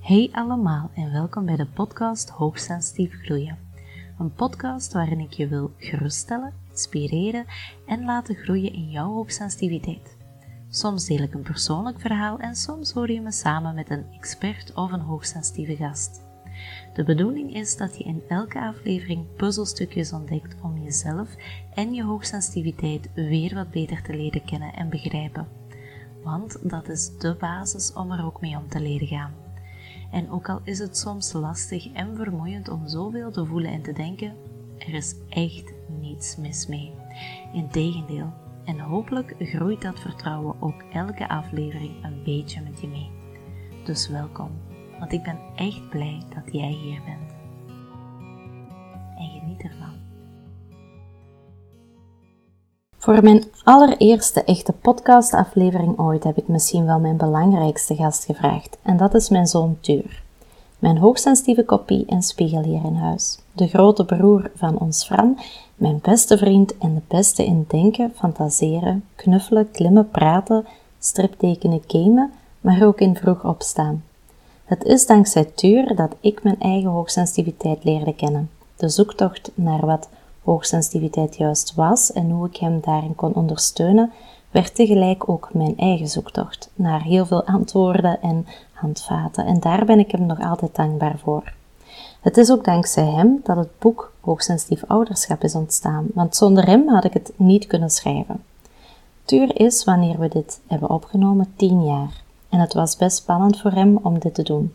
Hey allemaal en welkom bij de podcast Hoogsensitief Groeien. Een podcast waarin ik je wil geruststellen, inspireren en laten groeien in jouw hoogsensitiviteit. Soms deel ik een persoonlijk verhaal en soms hoor je me samen met een expert of een hoogsensitieve gast. De bedoeling is dat je in elke aflevering puzzelstukjes ontdekt om jezelf en je hoogsensitiviteit weer wat beter te leren kennen en begrijpen. Want dat is de basis om er ook mee om te leren gaan. En ook al is het soms lastig en vermoeiend om zoveel te voelen en te denken, er is echt niets mis mee. Integendeel, en hopelijk groeit dat vertrouwen ook elke aflevering een beetje met je mee. Dus welkom, want ik ben echt blij dat jij hier bent. En geniet ervan. Voor mijn allereerste echte podcastaflevering ooit heb ik misschien wel mijn belangrijkste gast gevraagd, en dat is mijn zoon Tuur. Mijn hoogsensitieve kopie en spiegel hier in huis. De grote broer van ons Fran, mijn beste vriend en de beste in denken, fantaseren, knuffelen, klimmen, praten, striptekenen, gamen, maar ook in vroeg opstaan. Het is dankzij Tuur dat ik mijn eigen hoogsensitiviteit leerde kennen. De zoektocht naar wat hoogsensitiviteit juist was en hoe ik hem daarin kon ondersteunen, werd tegelijk ook mijn eigen zoektocht naar heel veel antwoorden en handvaten. En daar ben ik hem nog altijd dankbaar voor. Het is ook dankzij hem dat het boek Hoogsensitief Ouderschap is ontstaan, want zonder hem had ik het niet kunnen schrijven. Tuur is, wanneer we dit hebben opgenomen, tien jaar. En het was best spannend voor hem om dit te doen.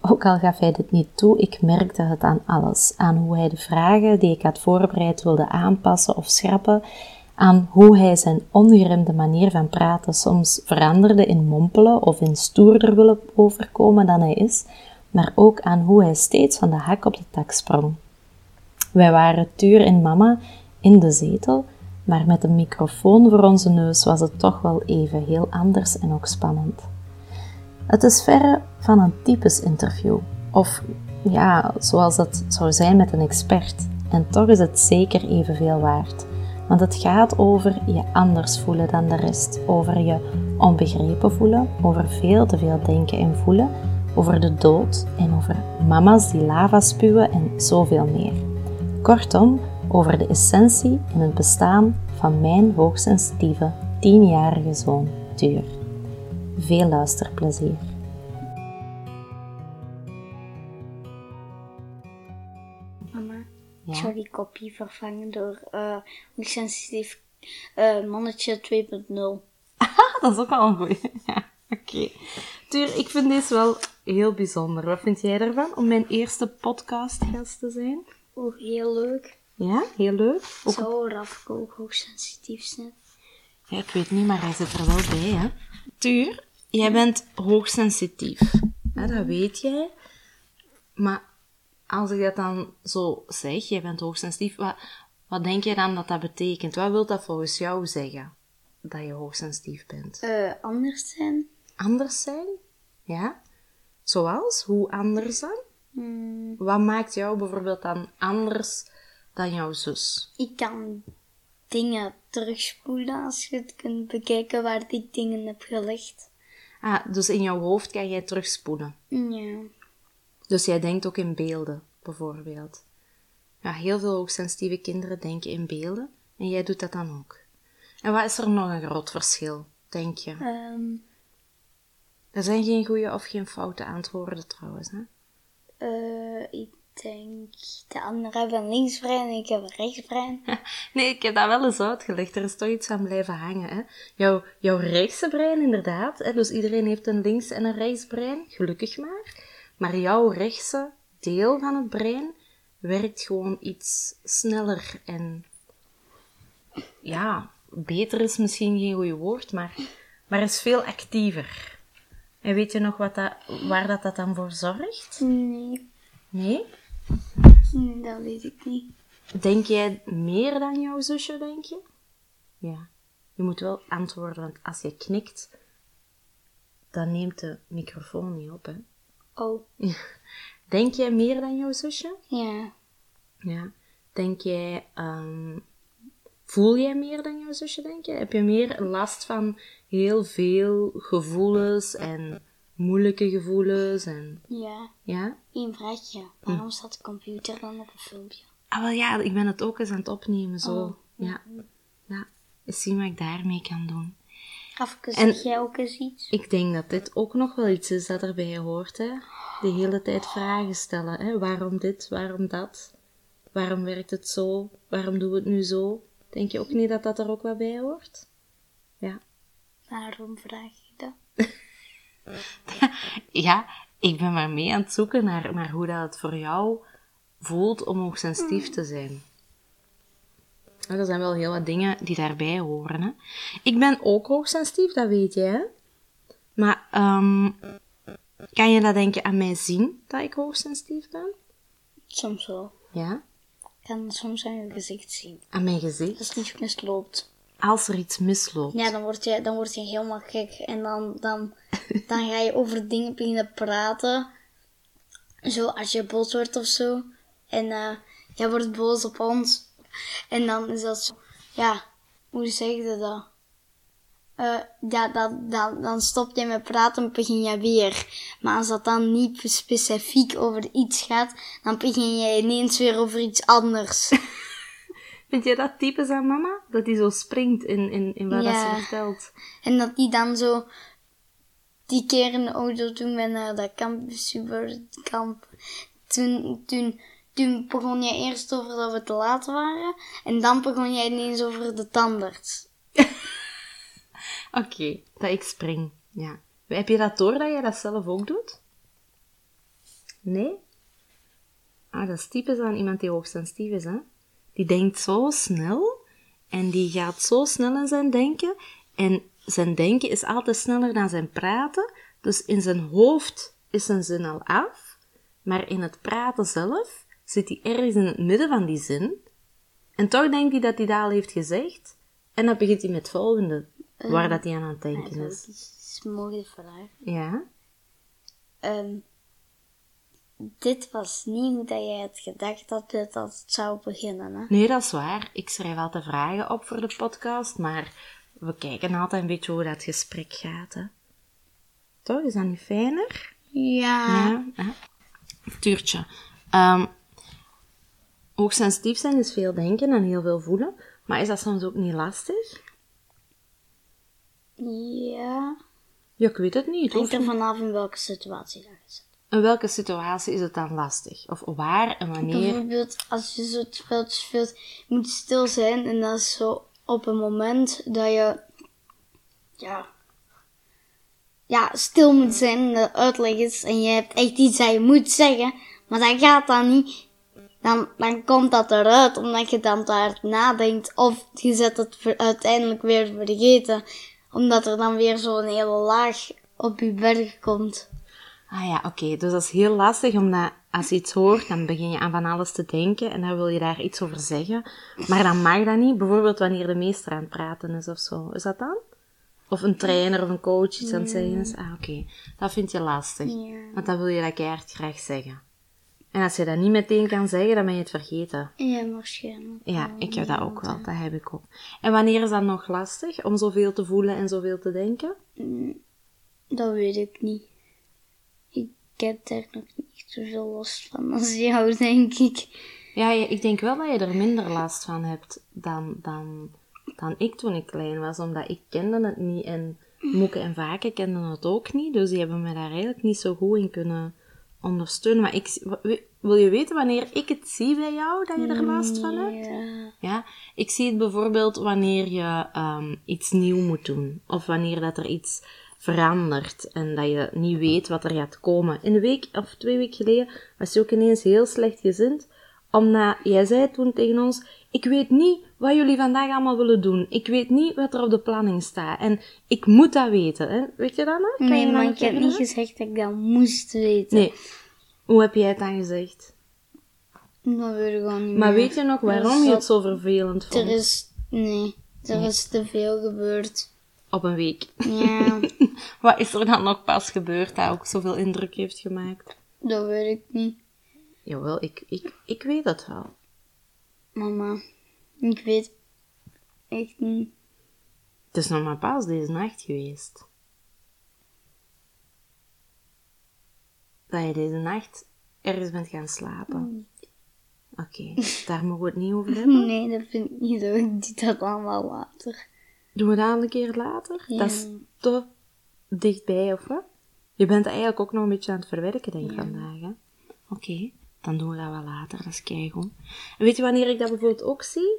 Ook al gaf hij dit niet toe, ik merkte het aan alles. Aan hoe hij de vragen die ik had voorbereid wilde aanpassen of schrappen. Aan hoe hij zijn ongeremde manier van praten soms veranderde in mompelen of in stoerder willen overkomen dan hij is. Maar ook aan hoe hij steeds van de hak op de tak sprong. Wij waren Tuur en mama in de zetel, maar met een microfoon voor onze neus was het toch wel even heel anders en ook spannend. Het is verre van een typisch interview. Of ja, zoals dat zou zijn met een expert. En toch is het zeker evenveel waard. Want het gaat over je anders voelen dan de rest. Over je onbegrepen voelen. Over veel te veel denken en voelen. Over de dood en over mama's die lava spuwen en zoveel meer. Kortom, over de essentie en het bestaan van mijn hoogsensitieve 10-jarige zoon, Duur. Veel luisterplezier. Mama, Ja. ik zou die kopie vervangen door eh een sensitief eh, mannetje 2.0. Ah, dat is ook wel een goeie. Ja, oké. Tuur, ik vind deze wel heel bijzonder. Wat vind jij ervan om mijn eerste podcastgast te zijn? Oeh, heel leuk. Ja, heel leuk. Ook- Zou Rafke ook hoogsensitief zijn? Ja, ik weet niet, maar hij zit er wel bij, hè. Tuur, jij bent hoogsensitief. Ja, dat weet jij. Maar als ik dat dan zo zeg, jij bent hoogsensitief, wat, wat denk jij dan dat dat betekent? Wat wil dat volgens jou zeggen, dat je hoogsensitief bent? Eh, anders zijn? Anders zijn? Ja? Zoals? Hoe anders dan? Hmm, Wat maakt jou bijvoorbeeld dan anders dan jouw zus? ik kan dingen terugspoelen als je het kunt bekijken waar ik dingen heb gelegd. Ah, dus in jouw hoofd kan jij terugspoelen. Ja. Dus jij denkt ook in beelden, bijvoorbeeld. Ja, heel veel hoogsensitieve kinderen denken in beelden en jij doet dat dan ook. En wat is er nog een groot verschil, denk je? Ehm, Er zijn geen goede of geen foute antwoorden trouwens, hè? eh, ik denk, de anderen hebben linksbrein en ik heb een rechtsbrein. Nee, ik heb dat wel eens uitgelegd. Er is toch iets aan blijven hangen, hè? Jouw, jouw rechtse brein, inderdaad. Hè? Dus iedereen heeft een links- en een rechtsbrein, gelukkig maar. Maar jouw rechtse deel van het brein werkt gewoon iets sneller en... Ja, beter is misschien geen goed woord, maar, maar is veel actiever. En weet je nog wat dat, waar dat, dat dan voor zorgt? Nee, Nee? nee, dat weet ik niet. Denk jij meer dan jouw zusje, denk je? Ja. Je moet wel antwoorden, want als je knikt, dan neemt de microfoon niet op, hè. Oh, Denk jij meer dan jouw zusje? ja. Ja. Denk jij... ehm, voel jij meer dan jouw zusje, denk je? Heb je meer last van heel veel gevoelens en moeilijke gevoelens en Ja. ja. Eén vraagje. Waarom staat de computer dan op een filmpje? Ah, wel ja, ik ben het ook eens aan het opnemen zo. Oh. Ja. ja. Eens zien wat ik daarmee kan doen. Afke, En- zeg jij ook eens iets? Ik denk dat dit ook nog wel iets is dat erbij hoort. Hè? De hele tijd vragen stellen. Hè? Waarom dit, waarom dat? Waarom werkt het zo? Waarom doen we het nu zo? Denk je ook niet dat dat er ook wat bij hoort? Ja. Waarom vraag je dat? Ja, ik ben maar mee aan het zoeken naar, naar hoe dat het voor jou voelt om Hmm. hoogsensitief te zijn. En er zijn wel heel wat dingen die daarbij horen. Hè? Ik ben ook hoogsensitief, dat weet jij. hè? Maar ehm, kan je dat denken aan mij zien, dat ik hoogsensitief ben? Soms wel. Ja, Ik kan soms aan je gezicht zien. aan mijn gezicht. Als het niet misloopt. Als er iets misloopt. Ja, dan word je, dan word je helemaal gek. En dan, dan, dan ga je over dingen beginnen praten. Zo, als je boos wordt of zo. En eh, jij wordt boos op ons. En dan is dat zo... Ja, hoe zeg je dat? Eh, ja, dan, dan, dan stop je met praten en begin je weer. Maar als dat dan niet specifiek over iets gaat, dan begin je ineens weer over iets anders. Vind je dat typisch aan mama? Dat die zo springt in, in, in wat dat Ja. ze vertelt. En dat die dan zo die keer een auto toen ben naar dat kamp, Dus superkamp. Toen, toen, toen begon je eerst over dat we te laat waren. En dan begon jij ineens over de tandarts. Oké, dat ik spring. Ja. Heb je dat door dat jij dat zelf ook doet? Nee? Ah, dat is typisch aan iemand die hoogsensitief is, hè? Die denkt zo snel en die gaat zo snel in zijn denken. En zijn denken is altijd sneller dan zijn praten. Dus in zijn hoofd is zijn zin al af. Maar in het praten zelf zit hij ergens in het midden van die zin. En toch denkt hij dat hij dat al heeft gezegd. En dan begint hij met het volgende, waar dat Eh, hij aan aan het Ja, denken dat is. is een mooie vraag. Ja? Ehm, dit was niet hoe dat jij had gedacht dat dit dat zou beginnen. Hè? Nee, dat is waar. Ik schrijf altijd vragen op voor de podcast, maar we kijken altijd een beetje hoe dat gesprek gaat. Hè. Toch? Is dat niet fijner? Ah. Ja. hè. Tuurtje. Ehm, hoogsensitief zijn is veel denken en heel veel voelen, maar is dat soms ook niet lastig? Ja. Ja, ik weet het niet. Het Denk hoeft er vanaf in welke situatie dat is. In welke situatie is het dan lastig? Of waar en Hm. wanneer? Bijvoorbeeld als je zo het spel speelt, je moet stil zijn en dat is zo op een moment dat je ja, ja stil moet zijn en dat uitleg is en je hebt echt iets dat je moet zeggen, maar dat gaat dan niet. Dan, dan komt dat eruit omdat je dan te hard nadenkt of je zet het ver- uiteindelijk weer vergeten omdat er dan weer zo'n hele laag op je berg komt. Ah ja, oké. Dus dat is heel lastig, omdat als je iets hoort, dan begin je aan van alles te denken en dan wil je daar iets over zeggen. Maar dan mag dat niet, bijvoorbeeld wanneer de meester aan het praten is of zo. Is dat dan? Of een trainer of een coach iets aan het zeggen is. Ah, oké. Dat vind je lastig. Ja. Want dan wil je dat keihard graag zeggen. En als je dat niet meteen kan zeggen, dan ben je het vergeten. Ja, waarschijnlijk. Ja, ik heb dat ook wel. Dat heb ik ook. En wanneer is dat nog lastig om zoveel te voelen en zoveel te denken? Dat weet ik niet. Ik heb daar nog niet zoveel last van als jou, denk ik. Ja, je- ik denk wel dat je er minder last van hebt dan, dan, dan ik toen ik klein was, omdat ik kende het niet en Moeke en Vaken kenden het ook niet, dus die hebben me daar eigenlijk niet zo goed in kunnen ondersteunen. Maar ik, w- w- wil je weten wanneer ik het zie bij jou, dat je er last van hebt? Ja. Ja, ik zie het bijvoorbeeld wanneer je ehm, iets nieuw moet doen. Of wanneer dat er iets verandert en dat je niet weet wat er gaat komen. In een week of twee weken geleden was je ook ineens heel slecht gezind. Omdat jij zei toen tegen ons, ik weet niet wat jullie vandaag allemaal willen doen. Ik weet niet wat er op de planning staat. En ik moet dat weten. Hè? Weet je dat nog? Kan je Nee, dat maar nog ik heb niet herinneren? gezegd dat ik dat moest weten. Nee. Hoe heb jij het dan gezegd? Dat weet ik gewoon niet Maar meer. weet je nog Er is waarom je zo- het zo vervelend Er vond? is... Nee. Er is te veel gebeurd. Op een week. Ja, Wat is er dan nog pas gebeurd dat ook zoveel indruk heeft gemaakt? dat weet ik niet. Jawel, ik, ik, ik weet dat wel. Mama, ik weet echt niet. Het is nog maar pas deze nacht geweest. dat je deze nacht ergens bent gaan slapen. Oké, daar mogen we het niet over hebben. Nee, dat vind ik niet zo. Ik doe dat allemaal later. Doen we dat een keer later? Ja. Dat is te dichtbij, of wat? Je bent eigenlijk ook nog een beetje aan het verwerken, denk ik, vandaag. hè? Oké, dan doen we dat wel later. Dat is keigoed. En weet je wanneer ik dat bijvoorbeeld ook zie?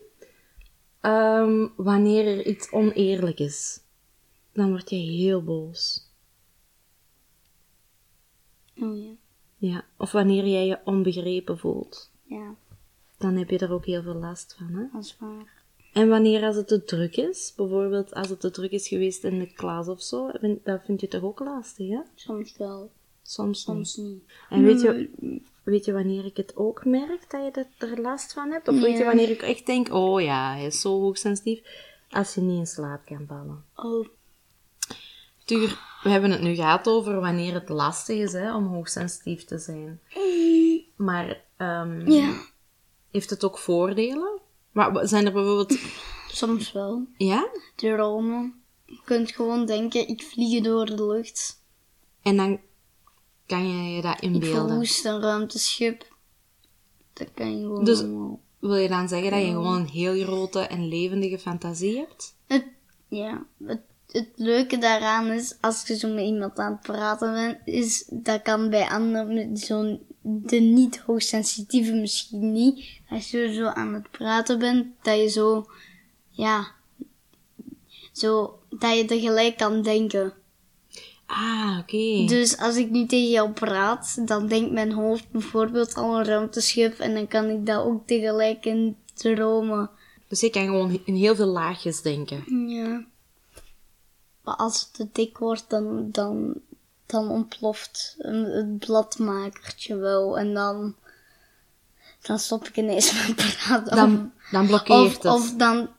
Ehm, wanneer er iets oneerlijk is. Dan word je heel boos. Oh ja. Ja. Of wanneer jij je onbegrepen voelt. Ja, Dan heb je er ook heel veel last van, hè? dat is waar. En wanneer als het te druk is, bijvoorbeeld als het te druk is geweest in de klas of zo, vind- dat vind je toch ook lastig, hè? Soms wel, Soms, soms Hmm. niet. niet. En weet je, weet je wanneer ik het ook merk dat je dat- er last van hebt? Of weet je Ja. wanneer ik echt denk, oh ja, hij is zo hoogsensitief, als je niet in slaap kan vallen. Oh, Tuur, we hebben het nu gehad over wanneer het lastig is hè, om hoogsensitief te zijn. Maar ehm, ja. heeft het ook voordelen? Maar wa- zijn er bijvoorbeeld... Soms wel. Ja? Dromen. Je kunt gewoon denken, ik vlieg door de lucht. En dan kan je je dat Ik inbeelden. verwoest een ruimteschip. Dat kan je gewoon Dus- allemaal. Wil je dan zeggen dat je gewoon een heel grote en levendige fantasie hebt? Het, ja, het, het leuke daaraan is, als je zo met iemand aan het praten bent, is dat kan bij anderen, met zo'n, de niet hoogsensitieve misschien niet, als je zo aan het praten bent, dat je zo, ja, zo, dat je tegelijk kan denken. Ah, oké. Dus als ik nu tegen jou praat, dan denkt mijn hoofd bijvoorbeeld al een ruimteschip en dan kan ik dat ook tegelijk in dromen. Dus je kan gewoon in heel veel laagjes denken. Ja. Maar als het te dik wordt, dan, dan, dan ontploft een, het bladmakertje wel. En dan, dan stop ik ineens met praten. Dan, dan of, blokkeert het. of dan,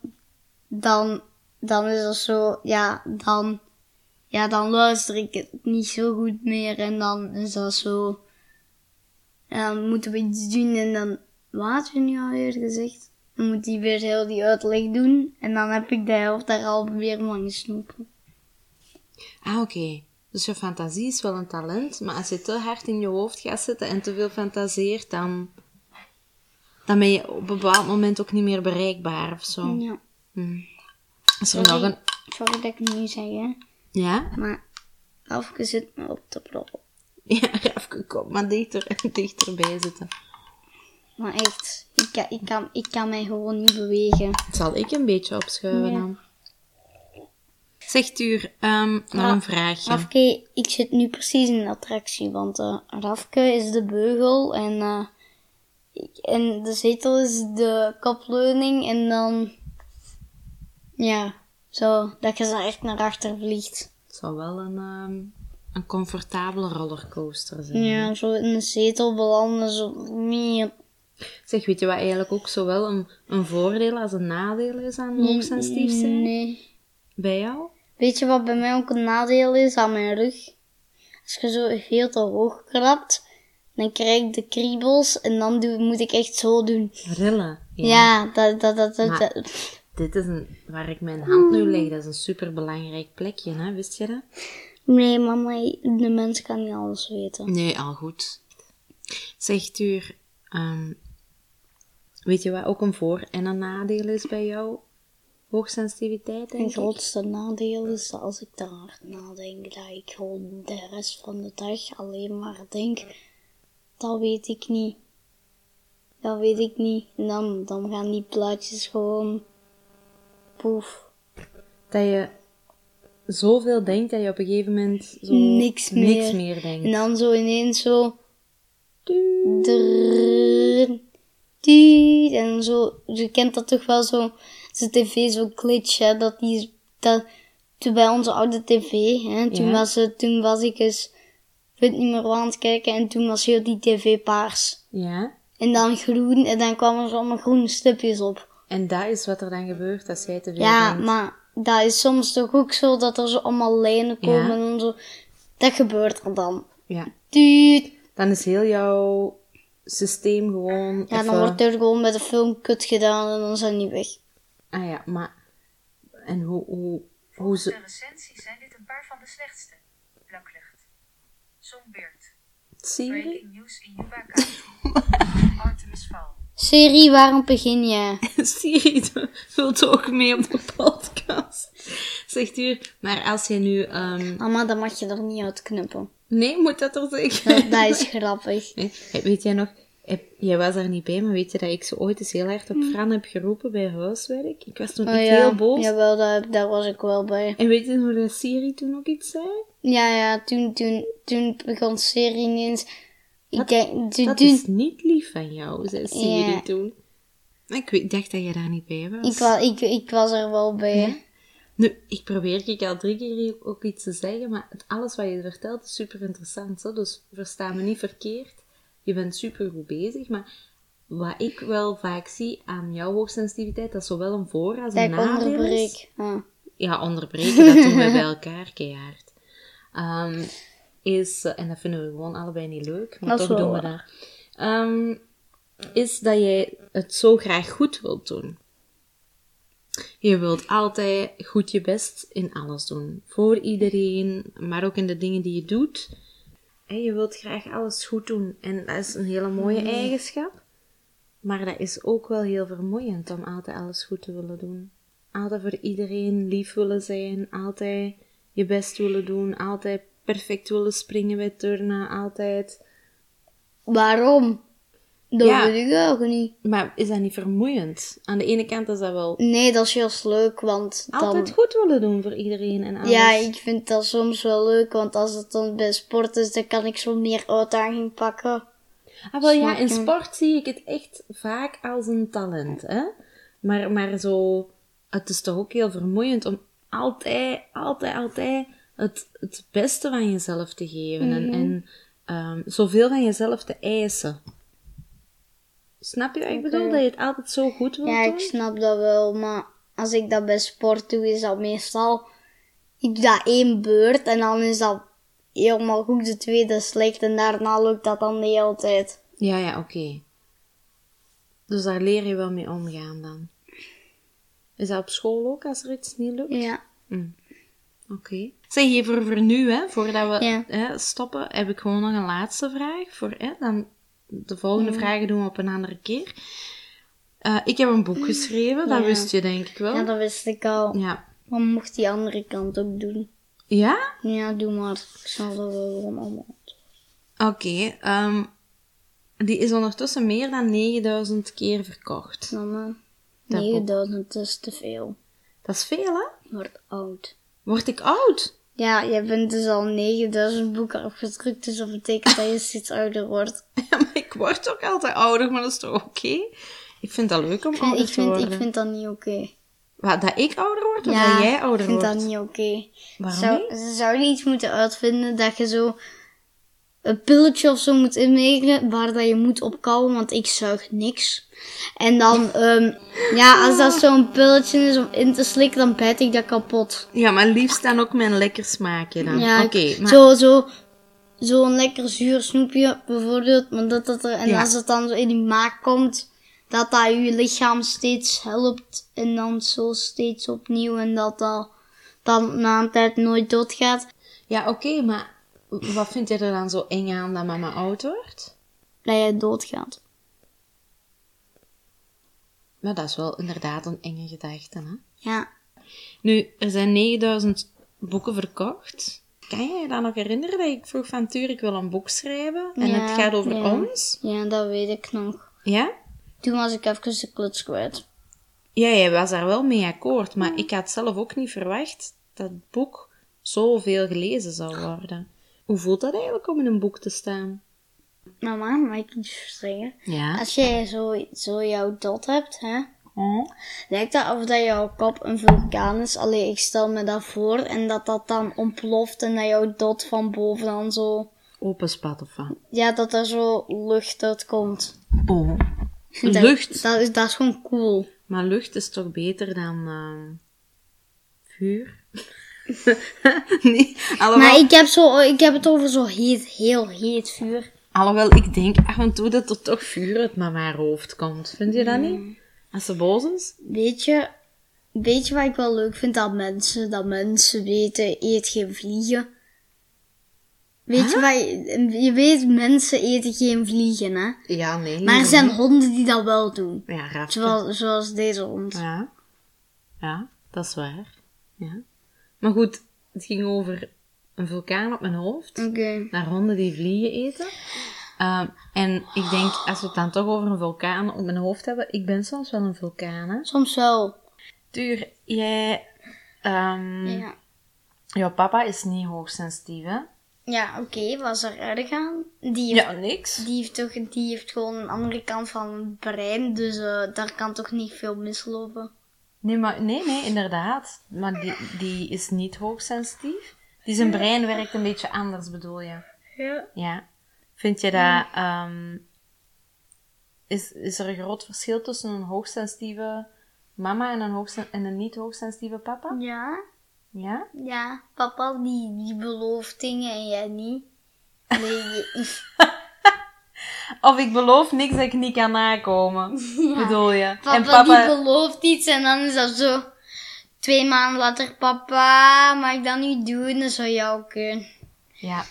dan, dan is het zo, ja, dan, ja, dan luister ik het niet zo goed meer. En dan is dat zo, ja, dan moeten we iets doen en dan, wat had je nu alweer gezegd? Dan moet hij weer heel die uitleg doen. En dan heb ik de helft daar al weer van gesnopen. Ah, oké. Dus je fantasie is wel een talent, maar als je te hard in je hoofd gaat zitten en te veel fantaseert, dan, dan ben je op een bepaald moment ook niet meer bereikbaar of zo. Hm. Ja. Is er nog Sorry, een... sorry dat ik het nu zeg, hè. Ja? Maar Afke zit me op te proppen. Ja, Rafke, kom maar dichter, dichterbij zitten. Maar echt, ik kan, ik, kan, ik kan mij gewoon niet bewegen. Zal ik een beetje opschuiven Ja. dan? Zeg Tuur, ehm, nog Ah, een vraagje. Rafke, ik zit nu precies in de attractie, want eh Rafke is de beugel en, eh, ik- en de zetel is de kopleuning en dan, ja, zo, dat je zo echt naar achter vliegt. Het zou wel een, ehm, een comfortabele rollercoaster zijn. Ja, zo in de zetel belanden, zo meer. Zeg, weet je wat eigenlijk ook zowel een, een voordeel als een nadeel is aan hoogsensitief zijn? mm, Nee. Bij jou? Weet je wat bij mij ook een nadeel is aan mijn rug? Als je zo veel te hoog krabt, dan krijg ik de kriebels en dan doe, moet ik echt zo doen. Rillen. Ja, dat, dat, dat, dat, Maar- dat- Dit is een, waar ik mijn hand nu leg, dat is een superbelangrijk plekje, hè? wist je dat? Nee, mama, de mens kan niet alles weten. Nee, al goed. Zeg, Tuur, ehm, weet je wat ook een voor- en een nadeel is bij jou? Hoogsensitiviteit, Mijn denk ik? grootste nadeel is dat als ik te hard nadenk, dat ik gewoon de rest van de dag alleen maar denk, dat weet ik niet. Dat weet ik niet. En dan, dan gaan die plaatjes gewoon poef. Dat je zoveel denkt dat je op een gegeven moment zo Niks meer. Nou. niks meer denkt. En dan zo ineens zo... drrrr, tiet, En zo, je kent dat toch wel zo, de tv zo glitch, hè, dat die, dat, toen bij onze oude tv, hè, toen, Ja. was, het- toen was ik eens, ik weet niet meer waar aan het kijken, en toen was heel die tv paars. Ja? En dan groen, en dan kwamen er allemaal groene stipjes op. En dat is wat er dan gebeurt als jij te veel Ja, denkt. maar dat is soms toch ook zo, dat er zo allemaal lijnen komen Ja. en dan zo, dat gebeurt er dan. Ja. Tuut, Dan is heel jouw systeem gewoon Ja, dan even- wordt er gewoon met de film kut gedaan en dan zijn die weg. Ah ja, maar... En hoe... hoe, hoe Volgens ze... de recensie zijn dit een paar van de slechtste. Blauwlicht. Sombeert. Siri? news in Yuba County. Artemis Fowl. Siri, waarom begin je? Siri wil ook mee op de podcast. Zegt u, maar als je nu... ehm, Mama, dat mag je er niet uitknuppen. Nee, moet dat toch zeker? Dat, dat is grappig. Nee, eh, Weet jij nog, eh, jij was daar niet bij, maar weet je dat ik zo ooit eens heel hard op Fran heb geroepen bij huiswerk? Ik was toen Hm. Oh echt ja, heel boos. Jawel, daar, daar was ik wel bij. En weet je hoe dat Siri toen ook iets zei? Ja, ja, toen, toen, toen begon Siri ineens. Ik denk, toen, Dat toen- is niet lief van jou, zei Siri Ja. toen. Maar ik weet- dacht dat je daar niet bij was. ik, was, ik, ik was er wel bij. hè. Nu, ik probeer ik al drie keer hier ook iets te zeggen, maar het- alles wat je vertelt is super interessant. Zo. Dus versta me niet verkeerd. Je bent super goed bezig, maar wat ik wel vaak zie aan jouw hoogsensitiviteit, dat is zowel een voor- als Dat een ik nadeel is. onderbreek. Ja. Ja, onderbreken, dat doen we bij elkaar keihard. Ehm, is, eh, en dat vinden we gewoon allebei niet leuk, maar Dat is toch wel doen we dat. Ehm, is dat jij het zo graag goed wilt doen. Je wilt altijd goed je best in alles doen. Voor iedereen, maar ook in de dingen die je doet. En je wilt graag alles goed doen. En dat is een hele mooie Mm. eigenschap. Maar dat is ook wel heel vermoeiend om altijd alles goed te willen doen. Altijd voor iedereen lief willen zijn. Altijd je best willen doen. Altijd perfect willen springen bij turnen. Altijd. Waarom? Dat Ja. weet ik ook niet. Maar is dat niet vermoeiend? Aan de ene kant is dat wel Nee, dat is juist leuk, want altijd dan... goed willen doen voor iedereen en alles. Ja, ik vind dat soms wel leuk, want als het dan bij sport is, dan kan ik zo meer uitdaging pakken. Ah, wel ja, in Snap je? sport zie ik het echt vaak als een talent, hè. Maar, maar zo, het is toch ook heel vermoeiend om altijd, altijd, altijd het, het beste van jezelf te geven. Mhm. En, en ehm, zoveel van jezelf te eisen. Snap je wat ik bedoel? Dat je het altijd zo goed wilt Ja, doen? ik snap dat wel, maar als ik dat bij sport doe, is dat meestal... Ik doe dat één beurt en dan is dat helemaal goed, de tweede slecht en daarna lukt dat dan de hele tijd. Ja, ja, oké. Dus daar leer je wel mee omgaan dan. Is dat op school ook, als er iets niet lukt? Ja. Oké. Zeg, hier voor, voor nu, hè, voordat we Ja. hè, stoppen, heb ik gewoon nog een laatste vraag. Voor, hè, dan de volgende vragen doen we op een andere keer. Eh, ik heb een boek geschreven, dat Mm. Ja. wist je denk ik wel. Ja, dat wist ik al. ja. Maar mocht die andere kant ook doen? Ja? Ja, doe maar. Ik snap dat wel gewoon allemaal. Oké. ehm, die is ondertussen meer dan 9000 keer verkocht. Mama, Dat 9000 eh, is te veel. Dat is veel, hè? Je Wordt oud. Word ik oud? Ja, je bent dus al 9000 boeken afgedrukt, dus dat betekent dat je steeds ouder wordt. Ja, maar ik word ook altijd ouder, maar dat is toch oké? Ik vind dat leuk om Eh, Ik vind, ouder ik te vind, worden. ik vind dat niet oké. Wat, dat ik ouder word of Ja, dat jij ouder ik vind wordt? dat niet oké. Waarom Zou, ze zouden iets moeten uitvinden dat je zo een pilletje of zo moet inwegen waar dat je moet opkouwen, want ik zuig niks. En dan, ehm, ja, als dat zo'n pilletje is om in te slikken, dan bijt ik dat kapot. Ja, maar liefst dan ook mijn lekker smaakje dan. Ja, Oké, ik- maar... zo, zo, zo'n lekker zuur snoepje bijvoorbeeld. Maar dat dat er, en Ja. als het dan zo in die maak komt, dat dat je lichaam steeds helpt. En dan zo steeds opnieuw. En dat dat dan na een tijd nooit doodgaat. Ja, oké, maar wat vind jij er dan zo eng aan dat mama oud wordt? Dat jij doodgaat. Maar dat is wel inderdaad een enge gedachte, hè? Ja. Nu, er zijn 9000 boeken verkocht. Kan je je dan nog herinneren dat ik vroeg van Tuur, ik wil een boek schrijven en Ja, het gaat over ja. ons? Ja, dat weet ik nog. Ja? Toen was ik even de kluts kwijt. Ja, jij was daar wel mee akkoord, maar ik had zelf ook niet verwacht dat het boek zoveel gelezen zou worden. Hoe voelt dat eigenlijk om in een boek te staan? Mama, mag ik iets zeggen? Ja. Als jij zo, zo jouw dot hebt, hè? Oh. Lijkt dat of dat jouw kop een vulkaan is? Allee, ik stel me dat voor. En dat dat dan ontploft en dat jouw dot van boven dan zo... Open spat of wat? Ja, dat er zo lucht uitkomt. Oh. komt. Lucht. Oh, Dat, dat, is, dat is gewoon cool. Maar lucht is toch beter dan ehm, vuur? nee, alhoewel, Maar ik... ik heb, zo, ik heb het over zo heet, heel heet vuur. alhoewel ik denk af en toe dat er toch vuur uit mama's hoofd komt. Vind je dat niet? Als ze boos is? Weet je, weet je wat ik wel leuk vind? Dat mensen, dat mensen weten, eet geen vliegen. Weet je wat? Je, je weet, mensen eten geen vliegen, hè? Ja, nee. Maar er nee. zijn honden die dat wel doen. Ja, raaf. Zoals, zoals deze hond. Ja. ja, dat is waar. Ja. Maar goed, het ging over een vulkaan op mijn hoofd. Oké. naar honden die vliegen eten. Ehm, en ik denk, als we het dan toch over een vulkaan op mijn hoofd hebben, ik ben soms wel een vulkaan. Hè? Soms wel. Tuur, jij. ehm, Ja. Jouw papa is niet hoogsensitief, hè? Ja, oké, was er erg aan. Die heeft, Ja, niks. die, heeft toch, die heeft gewoon een andere kant van het brein, dus eh, daar kan toch niet veel mislopen. Nee, maar, nee, nee, inderdaad. Maar die, die is niet hoogsensitief. Die zijn brein werkt een beetje anders, bedoel je? Ja. Ja. Vind je dat... ehm, is, is er een groot verschil tussen een hoogsensitieve mama en een, hoogsen- en een niet hoogsensitieve papa? Ja? Ja? Ja. Papa, die, die belooft dingen en jij niet. Nee, je- Of ik beloof niks dat ik niet kan nakomen. Bedoel je? papa, en papa... die belooft iets en dan is dat zo... Twee maanden later, papa, mag ik dat nu doen? Dat zou jou kunnen. ja.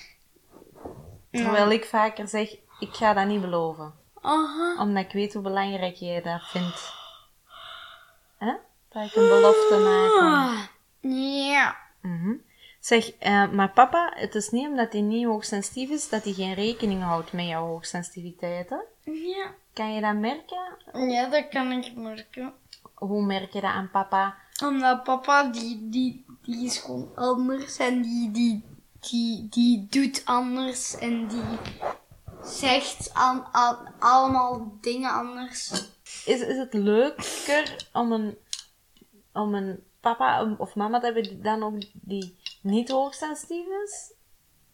Terwijl ik vaker zeg, ik ga dat niet beloven. Aha. Omdat ik weet hoe belangrijk jij dat vindt. Hè? Dat ik een belofte maak. Ja. Mhm. Zeg, eh, maar papa, het is niet omdat hij niet hoogsensitief is, dat hij geen rekening houdt met jouw hoogsensitiviteit. Hè? Ja. Kan je dat merken? Ja, dat kan ik merken. Hoe merk je dat aan papa? Omdat papa, die, die, die is gewoon anders en die, die, die, die doet anders en die zegt aan, aan, allemaal dingen anders. Is, is het leuker om een, om een papa of mama te hebben die dan ook die niet hoogsensitief is?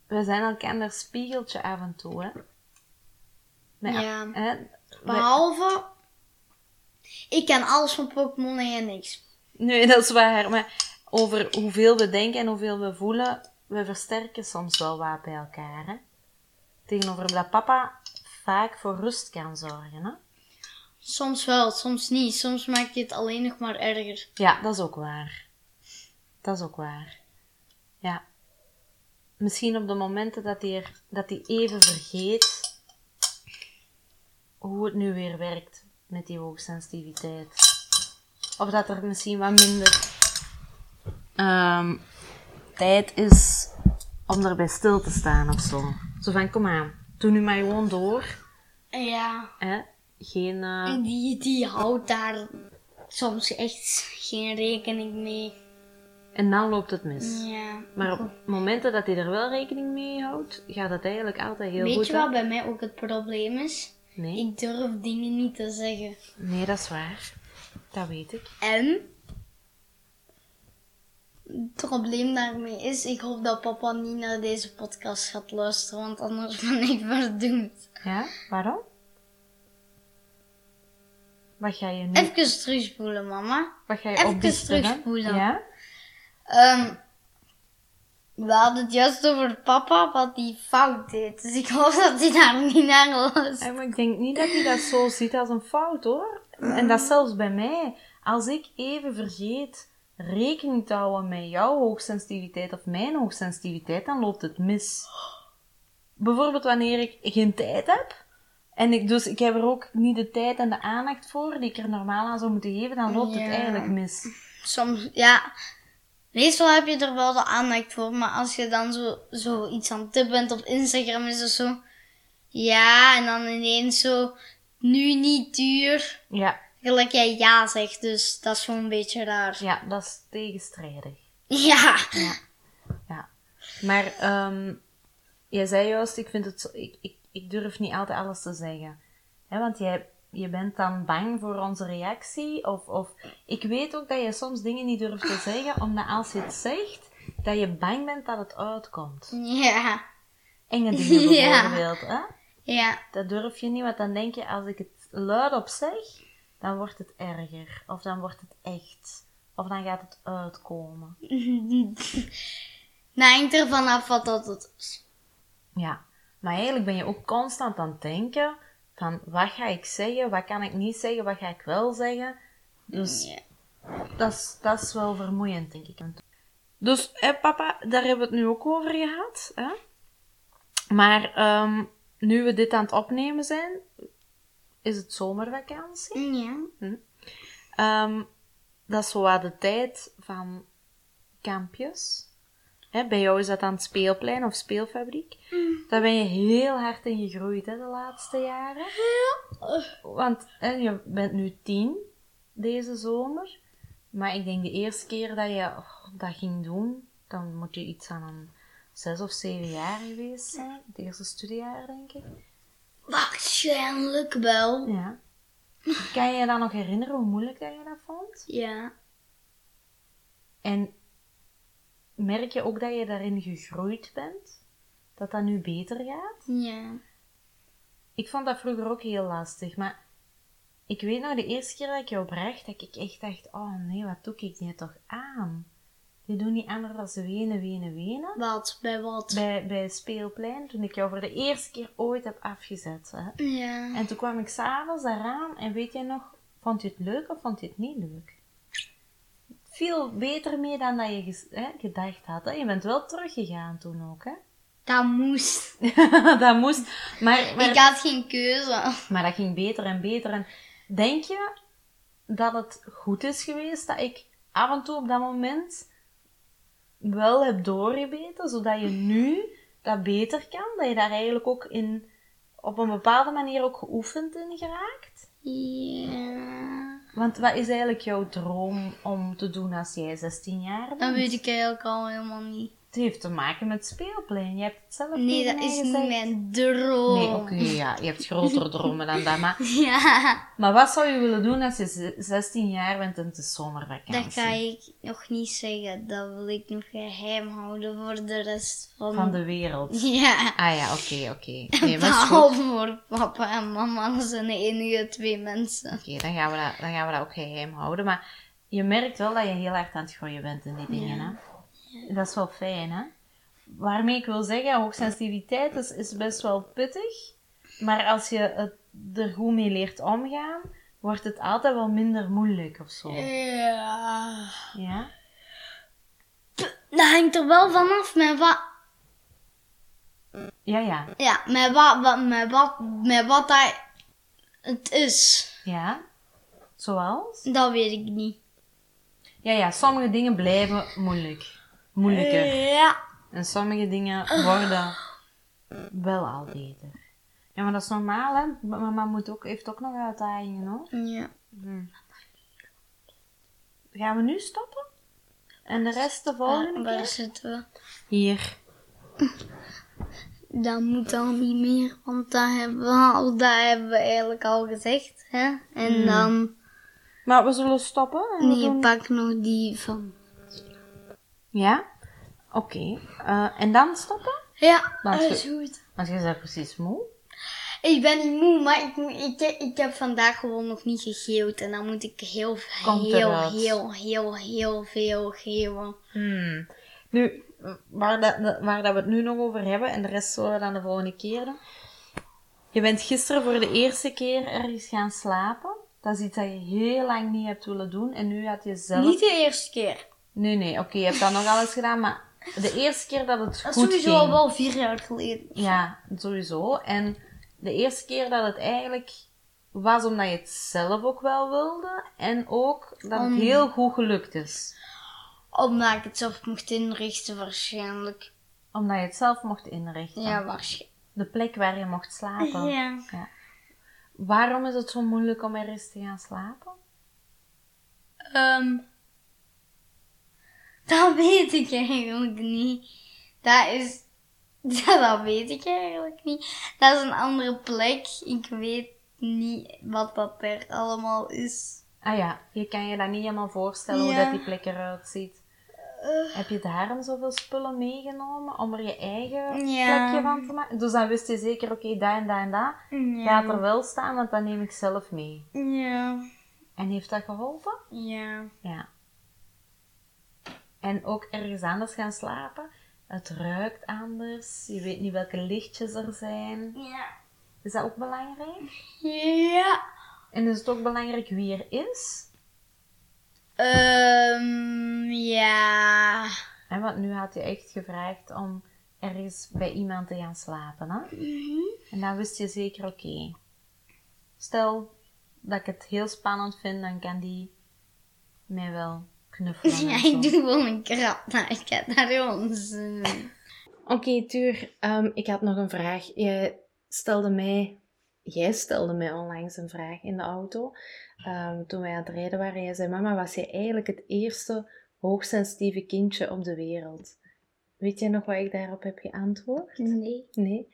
We zijn elkaar spiegeltje af en toe, hè? Met- Ja. hè? We- Behalve, ik ken alles van Pokémon en jij niks. Nee, dat is waar. Maar over hoeveel we denken en hoeveel we voelen, we versterken soms wel wat bij elkaar, hè? Tegenover dat papa vaak voor rust kan zorgen, hè? Soms wel, soms niet. Soms maakt je het alleen nog maar erger. Ja, dat is ook waar. Dat is ook waar. Ja. Misschien op de momenten dat hij, er- dat hij even vergeet hoe het nu weer werkt met die hoogsensitiviteit. Of dat er misschien wat minder ehm, tijd is om erbij stil te staan of zo. Zo van, kom aan, doe nu maar gewoon door. Ja, Hè? Geen... eh, en die, die houdt daar soms echt geen rekening mee. En dan loopt het mis. Ja. Maar op momenten dat hij er wel rekening mee houdt, gaat dat eigenlijk altijd heel Weet goed. je hè? wat bij mij ook het probleem is? Nee. Ik durf dingen niet te zeggen. nee, dat is waar. Dat weet ik. En? Het probleem daarmee is, ik hoop dat papa niet naar deze podcast gaat luisteren, want anders ben ik verdoemd. Ja? Waarom? Wat ga je nu... Even terugspoelen, mama. wat ga je even opbiechten dan? terugspoelen. Ja? Ehm, we hadden het juist over papa, wat hij fout deed. Dus ik hoop dat hij daar niet naar luistert. Ja, maar ik denk niet dat hij dat zo ziet als een fout hoor. En dat zelfs bij mij. Als ik even vergeet rekening te houden met jouw hoogsensitiviteit of mijn hoogsensitiviteit, dan loopt het mis. Bijvoorbeeld wanneer ik geen tijd heb. En ik, dus ik heb er ook niet de tijd en de aandacht voor die ik er normaal aan zou moeten geven, dan loopt Ja. het eigenlijk mis. Soms, ja. Meestal heb je er wel de aandacht voor, maar als je dan zo, zo iets aan het tippen bent op Instagram, is het zo. Ja, en dan ineens zo. Nu niet duur. Ja, Gelijk jij ja zegt, dus dat is gewoon een beetje raar. ja dat is tegenstrijdig. Ja. Ja. Maar ehm, jij zei juist, ik, vind het zo- ik, ik, ik durf niet altijd alles te zeggen. hè? want jij, je bent dan bang voor onze reactie. Of, of ik weet ook dat je soms dingen niet durft te zeggen, omdat als je het zegt, dat je bang bent dat het uitkomt. Ja. Enge dingen Ja. bijvoorbeeld. Hè? Ja. Dat durf je niet, want dan denk je, als ik het luidop zeg, dan wordt het erger. Of dan wordt het echt. Of dan gaat het uitkomen. Nou, hangt er vanaf wat dat het is. Ja, maar eigenlijk ben je ook constant aan het denken van wat ga ik zeggen, wat kan ik niet zeggen, wat ga ik wel zeggen. Dus Ja. dat, is, dat is wel vermoeiend, denk ik. Dus hé, papa, daar hebben we het nu ook over gehad. Hè? Maar ehm, nu we dit aan het opnemen zijn, is het zomervakantie. Ja. Ehm, dat is zo wat de tijd van kampjes. Hè, bij jou is dat aan het speelplein of speelfabriek. Daar ben je heel hard in gegroeid hè, de laatste jaren. Want hè, je bent nu tien deze zomer. Maar ik denk de eerste keer dat je oh, dat ging doen, dan moet je iets aan een zes of zeven jaar geweest zijn. Het eerste studiejaar, denk ik. Waarschijnlijk wel. Ja. Kan je je dan nog herinneren hoe moeilijk dat je dat vond? Ja. En merk je ook dat je daarin gegroeid bent? Dat dat nu beter gaat? Ja. Ik vond dat vroeger ook heel lastig, maar ik weet nog de eerste keer dat ik jou bracht, dat ik echt dacht, oh nee, wat doe ik die toch aan? Die doen niet anders dan ze wenen, wenen, wenen. Wat? Bij wat? Bij, bij Speelplein, toen ik jou voor de eerste keer ooit heb afgezet. Hè. Ja. En toen kwam ik s'avonds daaraan en weet jij nog, vond je het leuk of vond je het niet leuk? Het viel beter mee dan dat je ges- hè, gedacht had. Hè? Je bent wel teruggegaan toen ook, hè? Dat moest. dat moest. Maar, maar, Ik had geen keuze. maar dat ging beter en beter. En denk je dat het goed is geweest dat ik af en toe op dat moment wel heb doorgebeten, zodat je nu dat beter kan? Dat je daar eigenlijk ook in, op een bepaalde manier ook geoefend in geraakt? Ja. Want wat is eigenlijk jouw droom om te doen als jij 16 jaar bent? Dat weet ik eigenlijk al helemaal niet. Het heeft te maken met speelplein. Je hebt het zelf Nee, tegen dat mij is gezegd. niet mijn droom. Nee, oké, ja. Je hebt grotere dromen dan dat. Maar, Ja, maar wat zou je willen doen als je ze- 16 jaar bent en het is zomervakantie? dat ga ik nog niet zeggen. Dat wil ik nog geheim houden voor de rest van... Van de wereld. Ja. Ah ja, oké, oké. Nee, maar is goed. Behalve voor papa en mama, dat zijn de enige twee mensen. Oké, dan gaan we dat- dan gaan we dat ook geheim houden. Maar je merkt wel dat je heel hard aan het groeien bent in die dingen. Hè? Dat is wel fijn, hè? Waarmee ik wil zeggen, hoogsensitiviteit is, is best wel pittig. Maar als je het er goed mee leert omgaan, wordt het altijd wel minder moeilijk of zo. Ja. Ja? Dat hangt er wel vanaf met wat... Ja, ja. Ja, met wat, wat, met wat, met wat dat het is. Ja? Zoals? Dat weet ik niet. Ja, ja. Sommige dingen blijven moeilijk. Moeilijker. Ja. En sommige dingen worden wel al beter. Ja, maar dat is normaal, hè? M- Mama moet ook, heeft ook nog uitdagingen, hoor. Ja. Gaan we nu stoppen? En de rest de volgende Waar, keer? waar zitten Hier. we? Dat moet al niet meer, want dat hebben we al, dat hebben we eigenlijk al gezegd. Hè? En Hmm. dan... Maar we zullen stoppen. En we Nee, doen- pak nog die van... Ja? Oké. Eh, en dan stoppen? Ja, Maar dat zo- is goed. Want je bent precies moe. Ik ben niet moe, maar ik, moet- ik, ik heb vandaag gewoon nog niet gegeeuwd. En dan moet ik heel, Komt heel, eruit. heel, heel, heel veel geven. Hmm. Nu, waar, dat, dat- waar dat we het nu nog over hebben, en de rest zullen we dan de volgende keer doen. Je bent gisteren voor de eerste keer ergens gaan slapen. Dat is iets dat je heel lang niet hebt willen doen. En nu had je zelf... Niet de eerste keer. Nee, nee, oké, je hebt dat nog alles gedaan, maar de eerste keer dat het Dat is goed sowieso ging... al wel vier jaar geleden. Ja, sowieso. En de eerste keer dat het eigenlijk was omdat je het zelf ook wel wilde. En ook dat het heel goed gelukt is. Omdat ik het zelf mocht inrichten waarschijnlijk. Omdat je het zelf mocht inrichten. Ja, waarschijnlijk. De plek waar je mocht slapen. Ja. Waarom is het zo moeilijk om ergens te gaan slapen? Ehm dat weet ik eigenlijk niet. Dat is... Dat weet ik eigenlijk niet. Dat is een andere plek. Ik weet niet wat dat er allemaal is. Ah ja, je kan je dat niet helemaal voorstellen hoe Ja. Eh. dat die plek eruit ziet. Heb je daarom zoveel spullen meegenomen om er je eigen Ja. plekje van te maken? Dus dan wist je zeker, oké, dat en dat en dat Ja. gaat er wel staan, want dat neem ik zelf mee. Ja. En heeft dat geholpen? Ja. Ja. En ook ergens anders gaan slapen. Het ruikt anders, je weet niet welke lichtjes er zijn. Ja. Is dat ook belangrijk? Ja. En dus is het ook belangrijk wie er is? Ehm ja. Hè, want nu had je echt gevraagd om ergens bij iemand te gaan slapen. Hè? En dan wist je zeker, oké, stel dat ik het heel spannend vind, dan kan die mij wel knuffelen. Ja, en ik zo. doe gewoon een krap naar ik heb naar ons. Oké, Tuur, ehm, ik had nog een vraag. Jij stelde mij, jij stelde mij onlangs een vraag in de auto. ehm, toen wij aan het rijden waren, jij zei: Mama, was jij eigenlijk het eerste hoogsensitieve kindje op de wereld? Weet jij nog wat ik daarop heb geantwoord? Nee. Nee.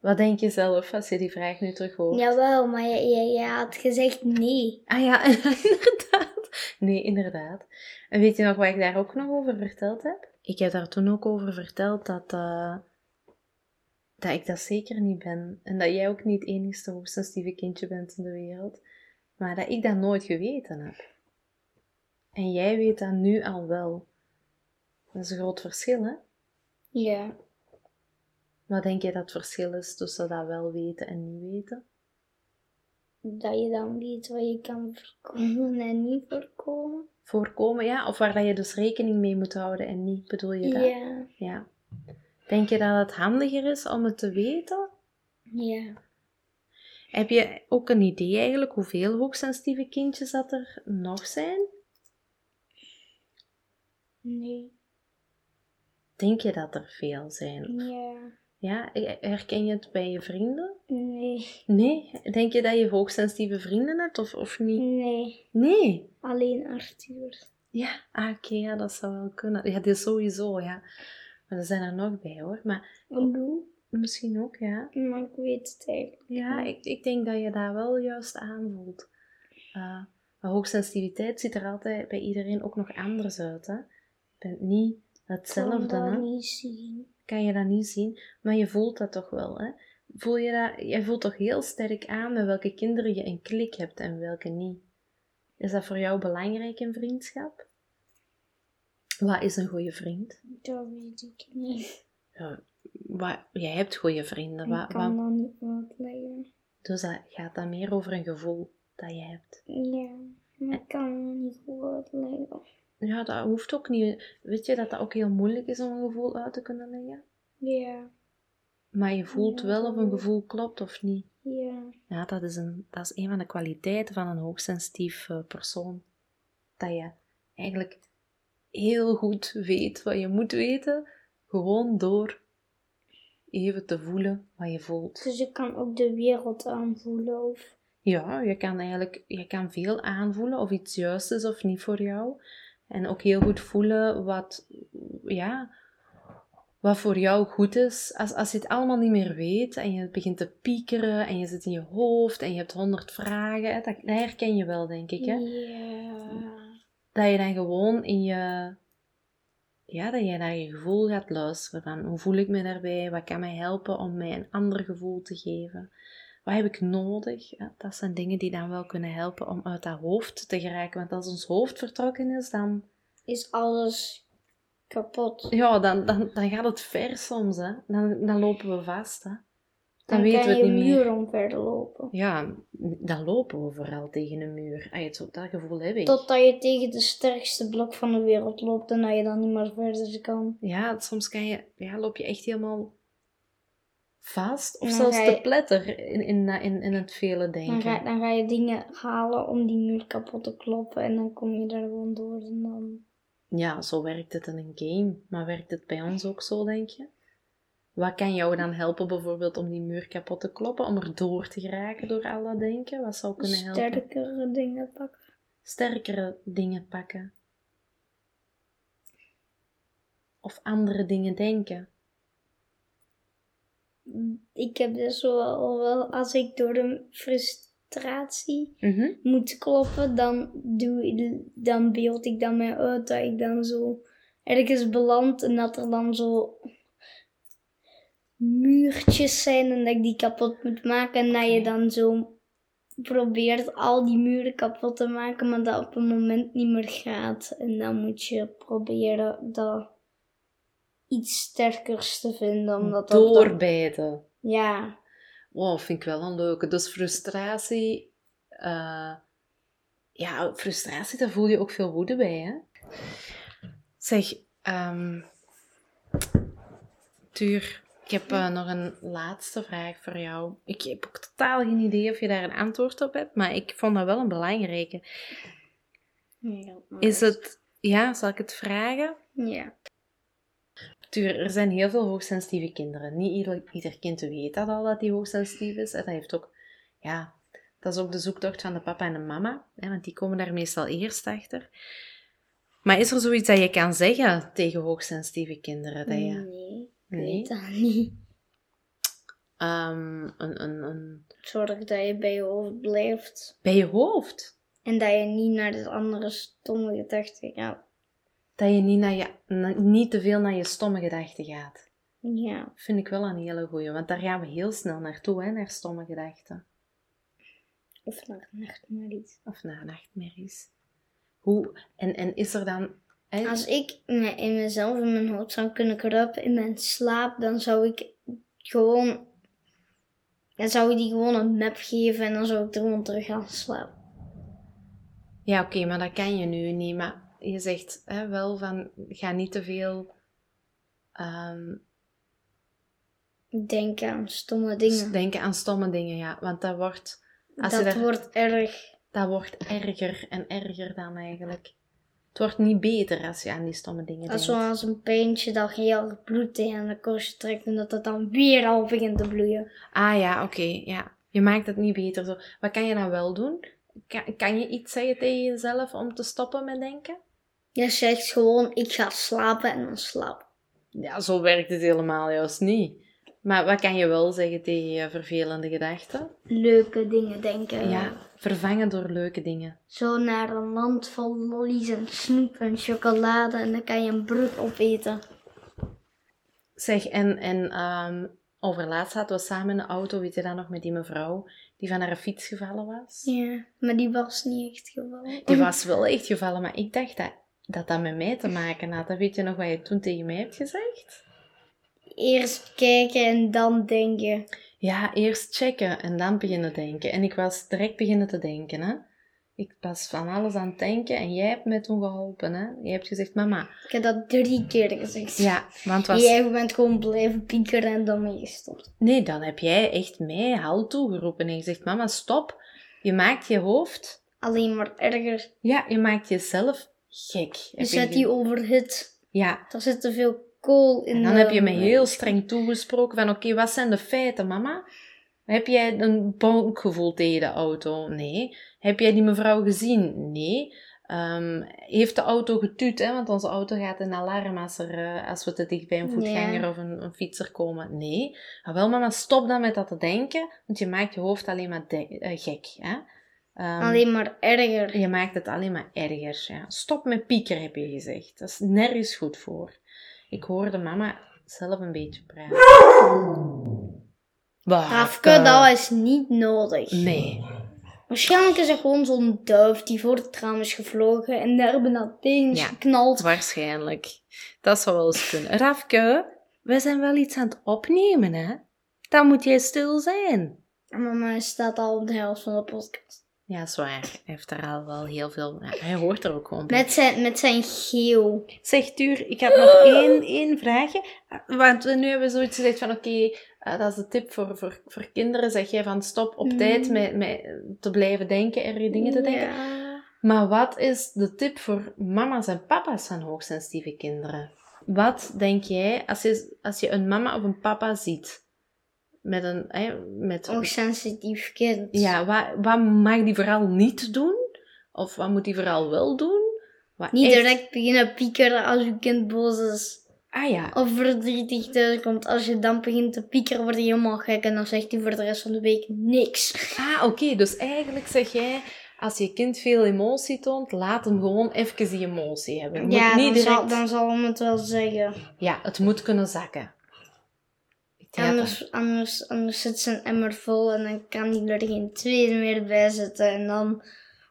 Wat denk je zelf als je die vraag nu terug hoort? Jawel, maar je, je, je had gezegd nee. Ah ja, inderdaad. Nee, inderdaad. En weet je nog wat ik daar ook nog over verteld heb? Ik heb daar toen ook over verteld dat, eh, dat ik dat zeker niet ben. En dat jij ook niet het enigste hoogsensitieve kindje bent in de wereld. Maar dat ik dat nooit geweten heb. En jij weet dat nu al wel. Dat is een groot verschil, hè? Ja. Wat denk je dat het verschil is tussen dat wel weten en niet weten? Dat je dan weet wat je kan voorkomen en niet voorkomen. Voorkomen, ja? Of waar dat je dus rekening mee moet houden en niet, bedoel je dat? Ja. Ja. Denk je dat het handiger is om het te weten? Ja. Heb je ook een idee eigenlijk hoeveel hoogsensitieve kindjes dat er nog zijn? Nee. Denk je dat er veel zijn? Ja. Ja, herken je het bij je vrienden? Nee. Nee? Denk je dat je hoogsensitieve vrienden hebt of, of niet? Nee. Nee? Alleen Arthur. Ja, ah, oké, ja, dat zou wel kunnen. Ja, dit sowieso, ja. Maar er zijn er nog bij hoor. Maar Lou? misschien ook, ja. Maar ik weet het eigenlijk. Ja, ik, ik denk dat je daar wel juist aanvoelt. Eh maar hoogsensitiviteit ziet er altijd bij iedereen ook nog anders uit. Hè? Je bent niet Ik hetzelfde. kan dat Hè? niet zien. Kan je dat niet zien, maar je voelt dat toch wel. Hè? Voel je dat, jij voelt toch heel sterk aan met welke kinderen je een klik hebt en welke niet. Is dat voor jou belangrijk in vriendschap? Wat is een goede vriend? Dat weet ik niet. Ja, wat, jij hebt goede vrienden. Ik Wat, kan wat, dat niet uitleggen. dus dat gaat dan meer over een gevoel dat je hebt. Ja. Maar ik kan dat niet goed uitleggen. Ja, dat hoeft ook niet. Weet je dat dat ook heel moeilijk is om een gevoel uit te kunnen leggen? Ja. Maar je voelt Ja, wel dat of een wel. gevoel klopt of niet. Ja. Ja, dat is een, dat is een van de kwaliteiten van een hoogsensitief eh, persoon. Dat je eigenlijk heel goed weet wat je moet weten, gewoon door even te voelen wat je voelt. Dus ik kan ook de wereld aanvoelen of... Ja, je kan eigenlijk je kan veel aanvoelen of iets juist is of niet voor jou. En ook heel goed voelen wat, ja, wat voor jou goed is. Als, als je het allemaal niet meer weet en je begint te piekeren en je zit in je hoofd en je hebt honderd vragen, hè, dat, dat herken je wel, denk ik. Hè? Ja. Dat je dan gewoon in je, ja, dat je naar je gevoel gaat luisteren. Van, hoe voel ik me daarbij? Wat kan mij helpen om mij een ander gevoel te geven? Wat heb ik nodig? Ja, dat zijn dingen die dan wel kunnen helpen om uit dat hoofd te geraken. Want als ons hoofd vertrokken is, dan, Is alles kapot. ja, dan, dan, dan gaat het ver soms. Hè. Dan, dan lopen we vast. Hè. Dan, weten kan we het je niet meer. muur omver lopen. Ja, dan lopen we vooral tegen een muur. Ah, het- dat gevoel heb ik. Totdat je tegen de sterkste blok van de wereld loopt en dat je dan niet meer verder kan. Ja, soms kan je, ja, loop je echt helemaal vast of Dan zelfs ga je- te pletter in, in, eh, in, in het vele Dan denken. ga, dan ga je dingen halen om die muur kapot te kloppen en dan kom je daar gewoon door en dan... Ja, zo werkt het in een game. Maar werkt het bij ons ook zo, denk je? Wat kan jou dan helpen bijvoorbeeld om die muur kapot te kloppen? Om er door te geraken door al dat denken? Wat zou kunnen helpen? Sterkere dingen pakken. Sterkere dingen pakken. Of andere dingen denken. Ik heb dus wel, wel als ik door een frustratie Mhm. moet kloppen, dan, doe, ik- dan beeld ik dat mij uit dat ik dan zo ergens beland en dat er dan zo muurtjes zijn en dat ik die kapot moet maken en dat je dan zo probeert al die muren kapot te maken, maar dat op een moment niet meer gaat en dan moet je proberen dat iets sterkers te vinden omdat dat dan- Doorbijten. ja Wow, vind ik wel een leuke. Dus frustratie. eh, ja, frustratie, daar voel je ook veel woede bij, hè? Zeg, ehm, Tuur, ik heb eh, nog een laatste vraag voor jou. Ik heb ook totaal geen idee of je daar een antwoord op hebt, maar ik vond dat wel een belangrijke. Is het... Ja, zal ik het vragen? Ja. Tuur, er zijn heel veel hoogsensitieve kinderen. Niet ieder, ieder kind weet dat al, dat die hoogsensitief is. En dat heeft ook... Ja, dat is ook de zoektocht van de papa en de mama. Hè, want die komen daar meestal eerst achter. Maar is er zoiets dat je kan zeggen tegen hoogsensitieve kinderen? Dat je... Nee, ik Nee? weet dat niet. Ehm, een, een, een... Zorg dat je bij je hoofd blijft. Bij je hoofd. En dat je niet naar de andere stomme gedachten gaat. dat je niet, naar je, na- niet te veel naar je stomme gedachten gaat. Ja. Vind ik wel een hele goeie, want daar gaan we heel snel naartoe, hè, naar stomme gedachten. Of naar nacht naar iets. Of naar nachtmerries. Hoe, en, en is er dan... hè, Als ik me- in mezelf in mijn hoofd zou kunnen kruipen in mijn slaap, dan zou ik gewoon. Dan zou ik die gewoon een map geven en dan zou ik er gewoon terug gaan slapen. Ja, oké, maar dat kan je nu niet. Maar je zegt hè, wel van, ga niet te veel ehm, Denk aan stomme dingen. denken aan stomme dingen, ja. Want dat wordt, als je dat daar- wordt erg. dat wordt erger en erger dan eigenlijk. Het wordt niet beter als je aan die stomme dingen Als denkt. zoals een peentje dat heel erg bloed tegen de koosje trekt en dat het dan weer al begint te bloeien. Ah ja, oké, ja. Je maakt het niet beter zo. Wat kan je dan wel doen? Kan, kan je iets zeggen tegen jezelf om te stoppen met denken? Je zegt gewoon, ik ga slapen en dan slaap. Ja, zo werkt het helemaal juist niet. Maar wat kan je wel zeggen tegen je vervelende gedachten? Leuke dingen denken. Ja, vervangen door leuke dingen. Zo naar een land vol lollies en snoep en chocolade en dan kan je een brood opeten. Zeg, en, en ehm overlaatst zaten we samen in de auto, weet je dat nog, met die mevrouw die van haar fiets gevallen was? Ja, maar die was niet echt gevallen. Die was wel echt gevallen, maar ik dacht dat dat, dat met mij te maken had. Dat weet je nog wat je toen tegen mij hebt gezegd? Eerst kijken en dan denken. Ja, eerst checken en dan beginnen denken. En ik was direct beginnen te denken, hè. Ik was van alles aan het denken en jij hebt me toen geholpen, hè. Jij hebt gezegd, mama. Ik heb dat drie keer gezegd. Ja, want was... Jij bent gewoon blijven piekeren en dan mee gestopt. Nee, dan heb jij echt mij hal toegeroepen en gezegd, mama, stop. Je maakt je hoofd... Alleen maar erger. Ja, Dus je maakt jezelf gek. Je Heb zet gezien? die overhit. Ja. Daar zit te veel kool in. En dan de- heb je me heel streng toegesproken van, oké, wat zijn de feiten, mama? Heb jij een bonk gevoeld tegen de auto? Nee. Heb jij die mevrouw gezien? Nee. Ehm, heeft de auto getuut, hè? want onze auto gaat in alarm als, er, eh, als we te dicht bij een voetganger Ja. of een, een fietser komen? Nee. Maar wel, mama, stop dan met dat te denken, want je maakt je hoofd alleen maar de- eh, gek. Hè? Ehm, Alleen maar erger. je maakt het alleen maar erger. Ja. Stop met pieker, heb je gezegd. Dat is nergens goed voor. Ik hoorde mama zelf een beetje praten. Afke, dat is niet nodig. Nee. Waarschijnlijk is er gewoon zo'n duif die voor het raam is gevlogen en daar hebben dat ding is Ja. geknald. Waarschijnlijk. Dat zou wel eens kunnen. Rafke, we zijn wel iets aan het opnemen, hè? Dan moet jij stil zijn. En mama staat al op de helft van de podcast. Ja, zwaar. Hij heeft er al wel heel veel... ja, hij hoort er ook gewoon bij. Met zijn, met zijn geel. Zeg Tuur, ik had nog één, één vraagje. Want we- nu hebben we zoiets gezegd van oké, eh, dat is de tip voor, voor, voor kinderen. Zeg jij van stop op Mm. tijd met, met te blijven denken en je dingen te denken. Ja. Maar wat is de tip voor mama's en papa's van hoogsensitieve kinderen? Wat denk jij als je, als je een mama of een papa ziet met een... hè, met, Hoogsensitief kind. ja, wat, wat mag die vooral niet doen? Of wat moet die vooral wel doen? Wat Niet echt- direct beginnen piekeren als je kind boos is. Ah ja, Of verdrietig thuiskomt. Als je dan begint te piekeren, wordt hij helemaal gek. En dan zegt hij voor de rest van de week niks. Ah, oké. Dus eigenlijk zeg jij, als je kind veel emotie toont, laat hem gewoon even die emotie hebben. Het ja, moet niet dan, direct... zal, dan zal hem het wel zeggen. Ja, het moet kunnen zakken. Ik denk dat- Anders, anders, anders zit zijn emmer vol en dan kan hij er geen tweede meer bij zetten. En dan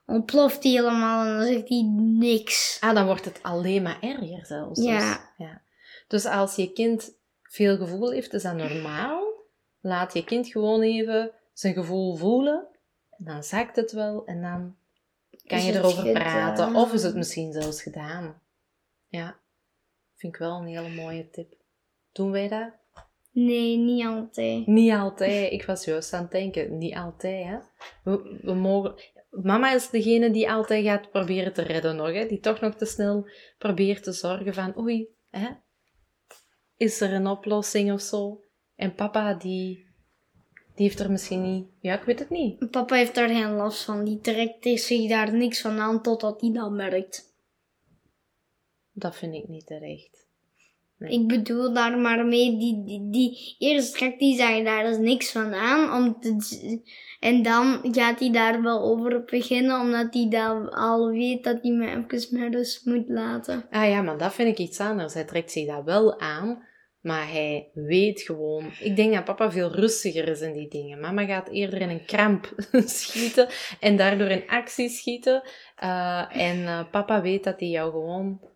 ontploft hij helemaal en dan zegt hij niks. Ah, dan wordt het alleen maar erger zelfs. dus. Ja. ja. Dus als je kind veel gevoel heeft, is dat normaal. Laat je kind gewoon even zijn gevoel voelen. En dan zakt het wel en dan kan Is je het eh? erover gedaan? praten. Of is het misschien zelfs gedaan. Ja. Vind ik wel een hele mooie tip. Doen wij dat? Nee, niet altijd. Niet altijd. Ik was juist aan het denken, niet altijd, hè. We, we mogen... Mama is degene die altijd gaat proberen te redden nog, hè. Die toch nog te snel probeert te zorgen van, oei, hè. Is er een oplossing of zo? En papa, die... Die heeft er misschien niet... Ja, ik weet het niet. Papa heeft daar geen last van. Die trekt zich daar niks van aan totdat hij dat merkt. Dat vind ik niet terecht. Ik bedoel daar maar mee, die, die, die eerst trekt hij zich daar dus niks van aan. Om te, z- en dan gaat hij daar wel over beginnen, omdat hij dan al weet dat hij me even met rust moet laten. Ah ja, maar dat vind ik iets anders. Hij trekt zich dat wel aan, maar hij weet gewoon. Ik denk dat papa veel rustiger is in die dingen. Mama gaat eerder in een kramp schieten en daardoor in actie schieten. Eh, en eh, papa weet dat hij jou gewoon.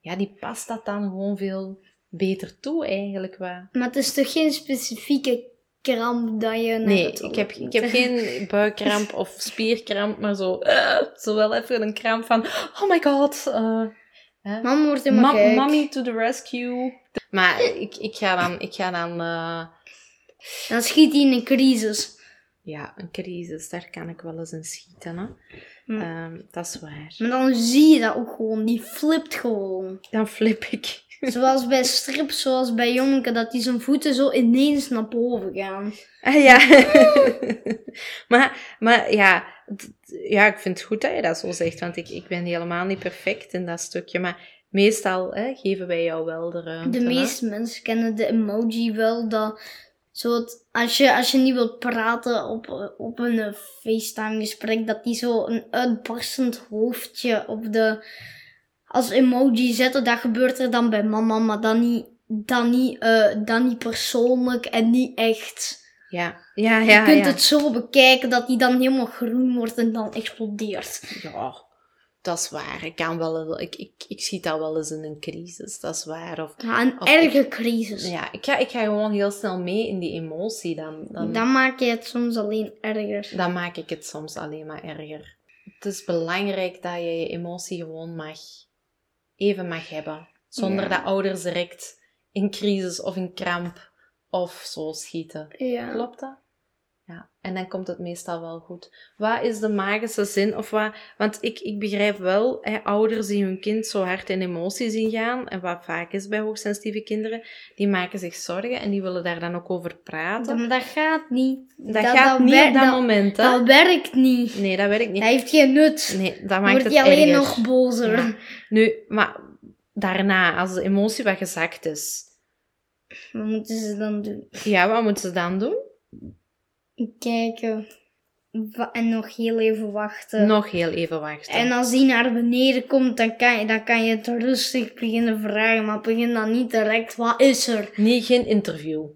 Ja, die past dat dan gewoon veel beter toe eigenlijk. Wat. Maar het is toch geen specifieke kramp dat je naar Nee, het ik heb, toilet ik moet? heb geen buikkramp of spierkramp, maar zo, eh, zo wel even een kramp van, oh my god, eh, hè. Mam wordt Ma- helemaal gek. mommy to the rescue. Maar ik, ik ga dan, ik ga dan eh, Dan schiet hij in een crisis. ja, een crisis, daar kan ik wel eens in schieten. Hè. Hm. Ehm, dat is waar. Maar dan zie je dat ook gewoon. Die flipt gewoon. Dan flip ik. Zoals bij strip, zoals bij Jonke, dat die zijn voeten zo ineens naar boven gaan. Ah, ja. maar, maar ja, d- d- ja, ik vind het goed dat je dat zo zegt, want ik, ik ben helemaal niet perfect in dat stukje. Maar meestal hè, geven wij jou wel de ruimte. De hè. meeste mensen kennen de emoji wel. Dat, zo het- als, je, als je niet wilt praten op, op een eh, FaceTime-gesprek, dat die zo een uitbarstend hoofdje op de. als emoji zetten. Dat gebeurt er dan bij mama, maar dan niet, dan niet, eh, dan niet persoonlijk en niet echt. Ja, ja, Je ja. kunt ja. het zo bekijken dat die dan helemaal groen wordt en dan explodeert. Ja, dat is waar. Ik, kan wel, ik, ik, ik schiet dat wel eens in een crisis, dat is waar. Of, Ja, een Of erge crisis. Dus ja, ik, ga, ik ga gewoon heel snel mee in die emotie. Dan, dan, Dan maak je het soms alleen erger. dan maak ik het soms alleen maar erger. Het is belangrijk dat je je emotie gewoon mag, even mag hebben. Zonder dat ouders direct in crisis of in kramp of zo schieten. Ja. Klopt dat? Ja, en dan komt het meestal wel goed. Wat is de magische zin? Of wat, want ik, ik begrijp wel, hè, ouders die hun kind zo hard in emotie zien gaan, en wat vaak is bij hoogsensitieve kinderen, die maken zich zorgen en die willen daar dan ook over praten. Maar dat gaat niet. dat, gaat niet wer- op dat, moment, hè? Dat werkt niet. nee, dat werkt niet. Dat heeft geen nut. Nee, dat maakt Wordt het je alleen erger. nog bozer. Ja. Nu, maar daarna, als de emotie wat gezakt is, Wat moeten ze dan doen? ja, wat moeten ze dan doen? Kijken. Wa- En nog heel even wachten. Nog heel even wachten. En als die naar beneden komt, dan kan, je, dan kan je het rustig beginnen vragen. Maar begin dan niet direct, wat is er? Nee, geen interview.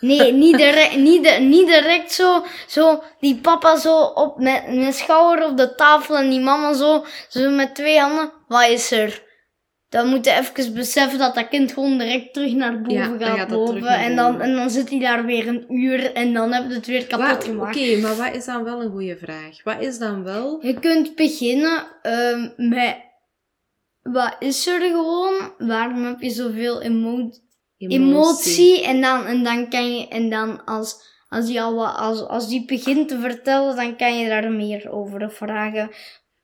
Nee, niet direct, niet, di- niet direct zo, zo, die papa zo op met mijn schouder op de tafel en die mama zo, zo met twee handen. Wat is er? Dan moet je even beseffen dat dat kind gewoon direct terug naar Ja, boven dan gaat, gaat dat terug lopen. naar En, dan, boven. en dan zit hij daar weer een uur en dan heb je het weer kapot Wat- Oké, gemaakt. maar wat is dan wel een goede vraag? Wat is dan wel... Je kunt beginnen ehm, met, wat is er gewoon? Waarom heb je zoveel emotie? emotie. En dan, en dan kan je, en dan als, als, die al wat, als, als die begint te vertellen, dan kan je daar meer over vragen.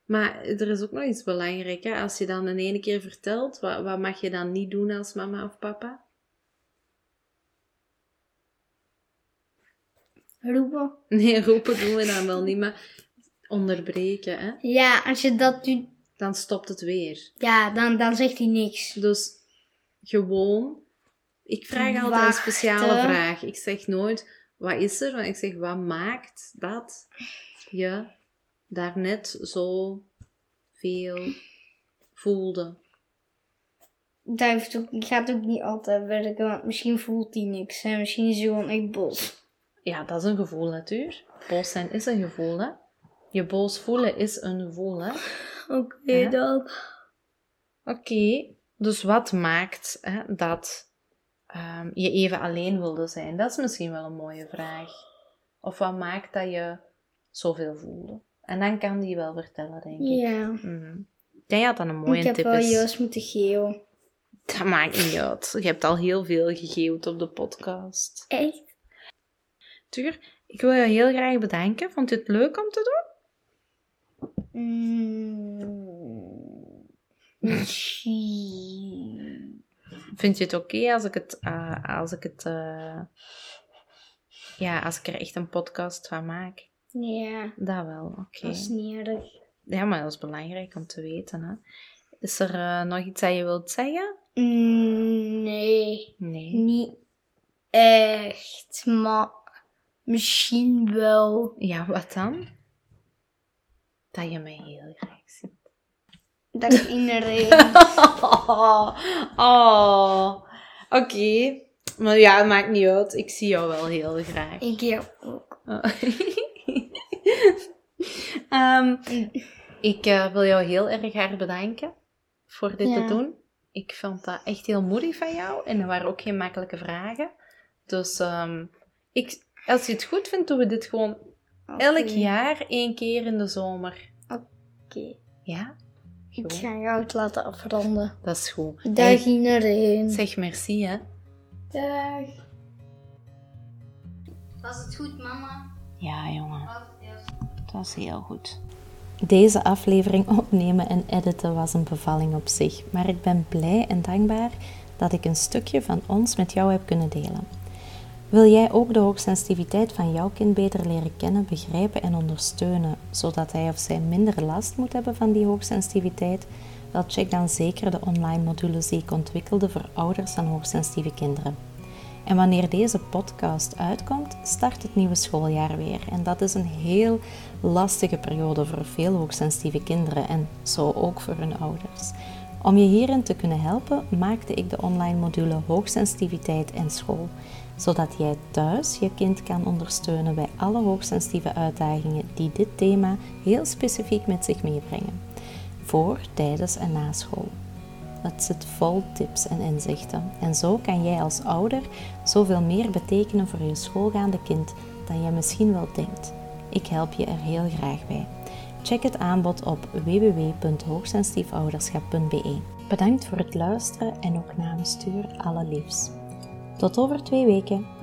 Maar er is ook nog iets belangrijk, hè? Als je dan in ene keer vertelt, wat, wat mag je dan niet doen als mama of papa? Roepen. Nee, roepen doen we dan wel niet, maar onderbreken, hè? Ja, als je dat doet, Dan stopt het weer. ja, dan, dan zegt hij niks. Dus gewoon... Ik vraag altijd een Wachten. speciale vraag. Ik zeg nooit, wat is er? Maar ik zeg, wat maakt dat je daarnet zo veel voelde? Dat heeft ook, gaat ook niet altijd werken, want misschien voelt hij niks. Hè? Misschien is hij gewoon echt boos. Ja, dat is een gevoel natuurlijk. Boos zijn is een gevoel, hè. Je boos voelen is een gevoel, hè. Oké, Ja. dan. Oké, dus wat maakt hè, dat ehm, je even alleen wilde zijn? Dat is misschien wel een mooie vraag. Of wat maakt dat je zoveel voelde? En dan kan die wel vertellen, denk ik. Ja, Mhm. Ik denk dat dat een mooie ik heb tip wel is. juist moeten geven. Dat maakt niet uit. Je hebt al heel veel gegeven op de podcast. Echt? Tuur, ik wil je heel graag bedanken. Vond je het leuk om te doen? Mm. Misschien. Vind je het oké als ik het... eh, als ik het eh, ja, als ik er echt een podcast van maak? Ja, Dat wel, oké. dat is niet erg. Ja, maar dat is belangrijk om te weten, hè. Is er eh, nog iets dat je wilt zeggen? Mm, Nee, Nee. niet echt, maar misschien wel Ja, wat dan? Dat je mij heel graag ziet. dat iedereen. Oh, oh. oké. Maar ja, maakt niet uit. Ik zie jou wel heel graag. Ik heb ook. Oh. Ehm, ik eh, wil jou heel erg hard bedanken voor dit Ja. te doen. Ik vond dat echt heel moedig van jou. En er waren ook geen makkelijke vragen. Dus ehm, ik, als je het goed vindt, doen we dit gewoon elk Oké. jaar één keer in de zomer. Oké, Ja? Ik Goed. ga jou het laten afronden. Dat is goed. Dag Hey, iedereen. zeg merci, hè. Dag. Was het goed, mama? Ja, jongen. Het was heel goed. Deze aflevering opnemen en editen was een bevalling op zich, maar ik ben blij en dankbaar dat ik een stukje van ons met jou heb kunnen delen. Wil jij ook de hoogsensitiviteit van jouw kind beter leren kennen, begrijpen en ondersteunen, zodat hij of zij minder last moet hebben van die hoogsensitiviteit? Wel, check dan zeker de online modules die ik ontwikkelde voor ouders van hoogsensitieve kinderen. En wanneer deze podcast uitkomt, start het nieuwe schooljaar weer. En dat is een heel lastige periode voor veel hoogsensitieve kinderen en zo ook voor hun ouders. Om je hierin te kunnen helpen, maakte ik de online module Hoogsensitiviteit en School, zodat jij thuis je kind kan ondersteunen bij alle hoogsensitieve uitdagingen die dit thema heel specifiek met zich meebrengen. Voor, tijdens en na school. Het zit vol tips en inzichten. En zo kan jij als ouder zoveel meer betekenen voor je schoolgaande kind dan jij misschien wel denkt. Ik help je er heel graag bij. Check het aanbod op www.hoogsensitiefouderschap.be. Bedankt voor het luisteren en ook namens Stuur alle liefs. Tot over twee weken.